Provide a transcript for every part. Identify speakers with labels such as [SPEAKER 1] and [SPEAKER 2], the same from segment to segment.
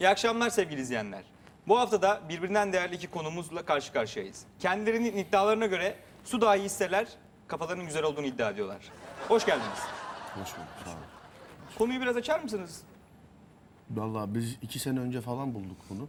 [SPEAKER 1] İyi akşamlar sevgili izleyenler. Bu hafta da birbirinden değerli iki konuğumuzla karşı karşıyayız. Kendilerinin iddialarına göre su dahi hisseler kafalarının güzel olduğunu iddia ediyorlar. Hoş geldiniz.
[SPEAKER 2] Hoş bulduk. Sağ olun.
[SPEAKER 1] Konuyu biraz açar mısınız?
[SPEAKER 2] Vallahi biz iki sene önce falan bulduk bunu.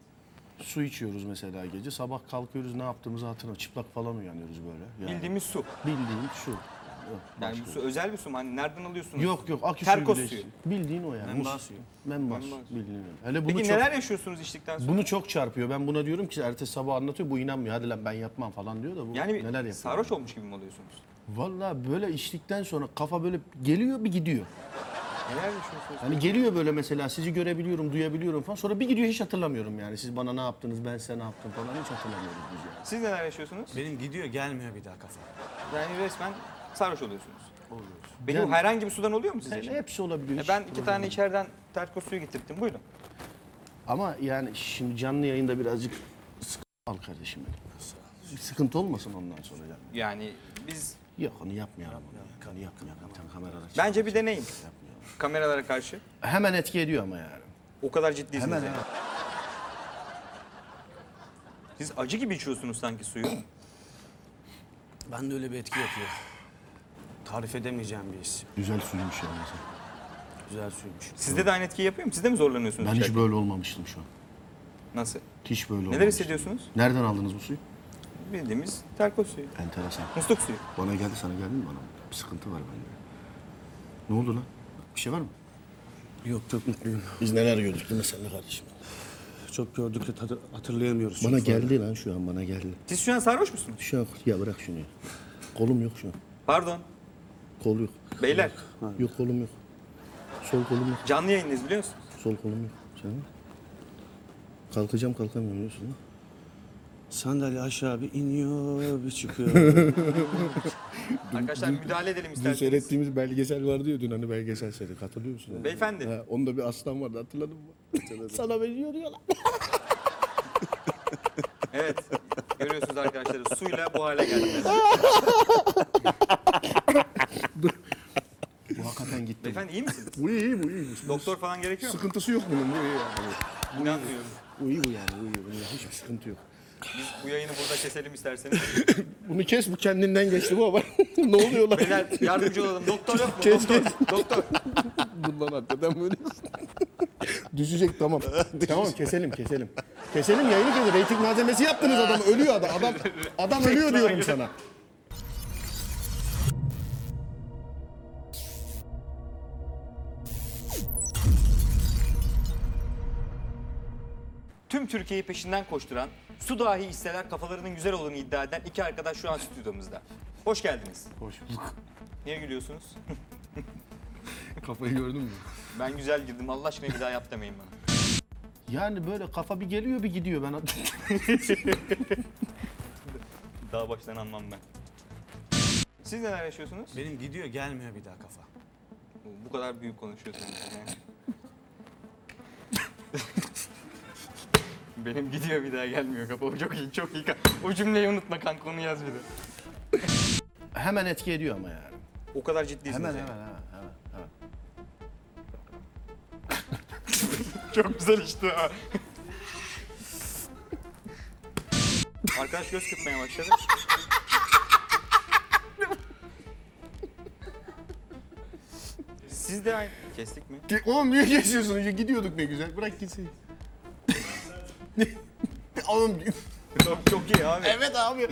[SPEAKER 2] Su içiyoruz mesela gece. Sabah kalkıyoruz ne yaptığımızı hatırlamıyoruz. Çıplak falan uyanıyoruz böyle. Yani
[SPEAKER 1] Bildiğimiz su.
[SPEAKER 2] Bildiğin su. Yok,
[SPEAKER 1] Yani
[SPEAKER 2] başka
[SPEAKER 1] bu su özel bir su mu? Hani nereden alıyorsunuz?
[SPEAKER 2] Yok yok akü
[SPEAKER 1] Terkos
[SPEAKER 2] suyu. bile
[SPEAKER 1] suyu.
[SPEAKER 2] içsin. Bildiğin o yani.
[SPEAKER 3] Menbaı
[SPEAKER 2] Mus-
[SPEAKER 3] suyu.
[SPEAKER 2] Menbaı
[SPEAKER 1] Menbaı
[SPEAKER 2] suyu.
[SPEAKER 1] suyu.
[SPEAKER 2] Bildiğin öyle. Hele bunu
[SPEAKER 1] Peki
[SPEAKER 2] çok,
[SPEAKER 1] neler yaşıyorsunuz içtikten sonra?
[SPEAKER 2] bunu çok çarpıyor. Ben buna diyorum ki ertesi sabah anlatıyor. Bu inanmıyor. Hadi lan ben yapmam falan diyor da bu
[SPEAKER 1] yani
[SPEAKER 2] neler yapıyor.
[SPEAKER 1] sarhoş olmuş gibi mi oluyorsunuz?
[SPEAKER 2] Vallahi böyle içtikten sonra kafa böyle geliyor bir gidiyor.
[SPEAKER 1] Neler yaşıyorsunuz?
[SPEAKER 2] Hani geliyor böyle mesela sizi görebiliyorum, duyabiliyorum falan. Sonra bir gidiyor hiç hatırlamıyorum yani. Siz bana ne yaptınız, ben size ne yaptım falan hiç hatırlamıyoruz biz yani.
[SPEAKER 1] Siz neler yaşıyorsunuz?
[SPEAKER 3] Benim gidiyor gelmiyor bir daha kafa.
[SPEAKER 1] Yani resmen sarhoş oluyorsunuz.
[SPEAKER 3] Oluyoruz.
[SPEAKER 1] Benim
[SPEAKER 2] Yani-
[SPEAKER 1] herhangi bir sudan oluyor mu size?
[SPEAKER 2] Yani
[SPEAKER 1] şimdi?
[SPEAKER 2] hepsi olabiliyor.
[SPEAKER 1] E
[SPEAKER 2] hiç
[SPEAKER 1] ben iki
[SPEAKER 2] problem
[SPEAKER 1] tane
[SPEAKER 2] yok.
[SPEAKER 1] içeriden terkos suyu getirttim. Buyurun.
[SPEAKER 2] Ama yani şimdi canlı yayında birazcık sıkıntı al kardeşim benim. Bir sıkıntı olmasın ondan sonra yani.
[SPEAKER 1] Yani biz
[SPEAKER 2] Yok onu yapmayalım onu. ya. Onu yapmayalım. Tam kameralar için
[SPEAKER 1] bence bir deneyim
[SPEAKER 2] yapmayalım.
[SPEAKER 1] kameralara karşı.
[SPEAKER 2] Hemen etki ediyor ama yani.
[SPEAKER 1] O kadar ciddisiniz.
[SPEAKER 2] Hemen
[SPEAKER 1] yani.
[SPEAKER 2] hemen.
[SPEAKER 1] Siz acı gibi içiyorsunuz sanki suyu.
[SPEAKER 3] Ben de öyle bir etki yapıyor. Tarif edemeyeceğim bir his.
[SPEAKER 2] Güzel şey suymuş yani. mesela.
[SPEAKER 3] Güzel suymuş.
[SPEAKER 1] Sizde de aynı etkiyi yapıyor mu? Siz de mi zorlanıyorsunuz?
[SPEAKER 2] Ben hiç
[SPEAKER 1] içerken?
[SPEAKER 2] böyle olmamıştım şu an.
[SPEAKER 1] Nasıl?
[SPEAKER 2] Hiç böyle
[SPEAKER 1] Neler
[SPEAKER 2] olmamıştım.
[SPEAKER 1] hissediyorsunuz?
[SPEAKER 2] Nereden aldınız bu suyu?
[SPEAKER 1] Bildiğimiz terkos suyu.
[SPEAKER 2] Enteresan.
[SPEAKER 1] Musluk suyu.
[SPEAKER 2] Bana geldi sana geldi mi bana? Bir sıkıntı var bende. Ne oldu lan? Bir şey var mı?
[SPEAKER 3] Yok çok mutluyum.
[SPEAKER 2] Biz neler gördük değil mi seninle kardeşim?
[SPEAKER 3] Çok gördük de tadı- hatırlayamıyoruz.
[SPEAKER 2] Bana
[SPEAKER 3] çok fazla.
[SPEAKER 2] geldi lan şu an bana geldi.
[SPEAKER 1] Siz şu an sarhoş musunuz?
[SPEAKER 2] Şu an ya bırak şunu. ya. Kolum yok şu an.
[SPEAKER 1] Pardon.
[SPEAKER 2] Kol yok.
[SPEAKER 1] Beyler
[SPEAKER 2] Yok kolum yok. Sol kolum yok.
[SPEAKER 1] canlı yayındayız biliyor musunuz?
[SPEAKER 2] Sol kolum yok. Sen Kalkacağım kalkamıyorum biliyorsun değil mi?
[SPEAKER 3] Sandalye aşağı bir iniyor bir çıkıyor.
[SPEAKER 1] Arkadaşlar müdahale edelim
[SPEAKER 2] Dün
[SPEAKER 1] isterseniz.
[SPEAKER 2] seyrettiğimiz belgesel vardı ya dün hani belgesel seri katılıyor musun?
[SPEAKER 1] Beyefendi.
[SPEAKER 2] Ha, onda bir aslan vardı hatırladın mı? Sana veriyor diyorlar.
[SPEAKER 1] Evet. Görüyorsunuz arkadaşlar suyla bu hale geldik.
[SPEAKER 2] Bu hakikaten gitti.
[SPEAKER 1] Beyefendi iyi misiniz?
[SPEAKER 2] Bu iyi iyi, bu iyi. Bu
[SPEAKER 1] Doktor falan gerekiyor mu?
[SPEAKER 2] Sıkıntısı yok bunun bu iyi yani.
[SPEAKER 1] İnanmıyorum.
[SPEAKER 2] Bu iyi bu yani bu iyi. Bunda hiçbir sıkıntı yok.
[SPEAKER 1] Biz bu yayını burada keselim isterseniz.
[SPEAKER 2] Bunu kes bu kendinden geçti bu ama. ne oluyor lan?
[SPEAKER 1] Beyler yardımcı olalım. Doktor yok mu?
[SPEAKER 2] Kes,
[SPEAKER 1] Doktor. Doktor.
[SPEAKER 2] Bundan hakikaten böyle. Düşecek tamam. tamam keselim keselim. Keselim yayını kesin. Reyting malzemesi yaptınız adamı. Ölüyor adam. Adam, adam ölüyor diyorum sana.
[SPEAKER 1] Tüm Türkiye'yi peşinden koşturan, su dahi hisseler kafalarının güzel olduğunu iddia eden iki arkadaş şu an stüdyomuzda. Hoş geldiniz.
[SPEAKER 2] Hoş bulduk.
[SPEAKER 1] Niye gülüyorsunuz?
[SPEAKER 2] Kafayı gördün mü?
[SPEAKER 1] Ben güzel girdim. Allah aşkına bir daha yap demeyin bana.
[SPEAKER 2] Yani böyle kafa bir geliyor bir gidiyor. Ben
[SPEAKER 1] Daha baştan anmam ben. Siz neler yaşıyorsunuz?
[SPEAKER 3] Benim gidiyor gelmiyor bir daha kafa.
[SPEAKER 1] Bu kadar büyük konuşuyorsunuz. yani. Benim gidiyor bir daha gelmiyor kafa. O çok iyi, çok iyi. O cümleyi unutma kanka onu yaz bir de.
[SPEAKER 2] hemen etki ediyor ama yani.
[SPEAKER 1] O kadar ciddisiniz.
[SPEAKER 2] Hemen hemen
[SPEAKER 1] yani.
[SPEAKER 2] hemen. hemen, hemen.
[SPEAKER 1] Çok güzel işte ha. Arkadaş göz kırpmaya başladı. Siz de aynı. Kestik mi?
[SPEAKER 2] Ki- Oğlum niye geçiyorsun? Gidiyorduk ne güzel. Bırak gitsin. Oğlum
[SPEAKER 1] Çok iyi abi.
[SPEAKER 2] evet abi.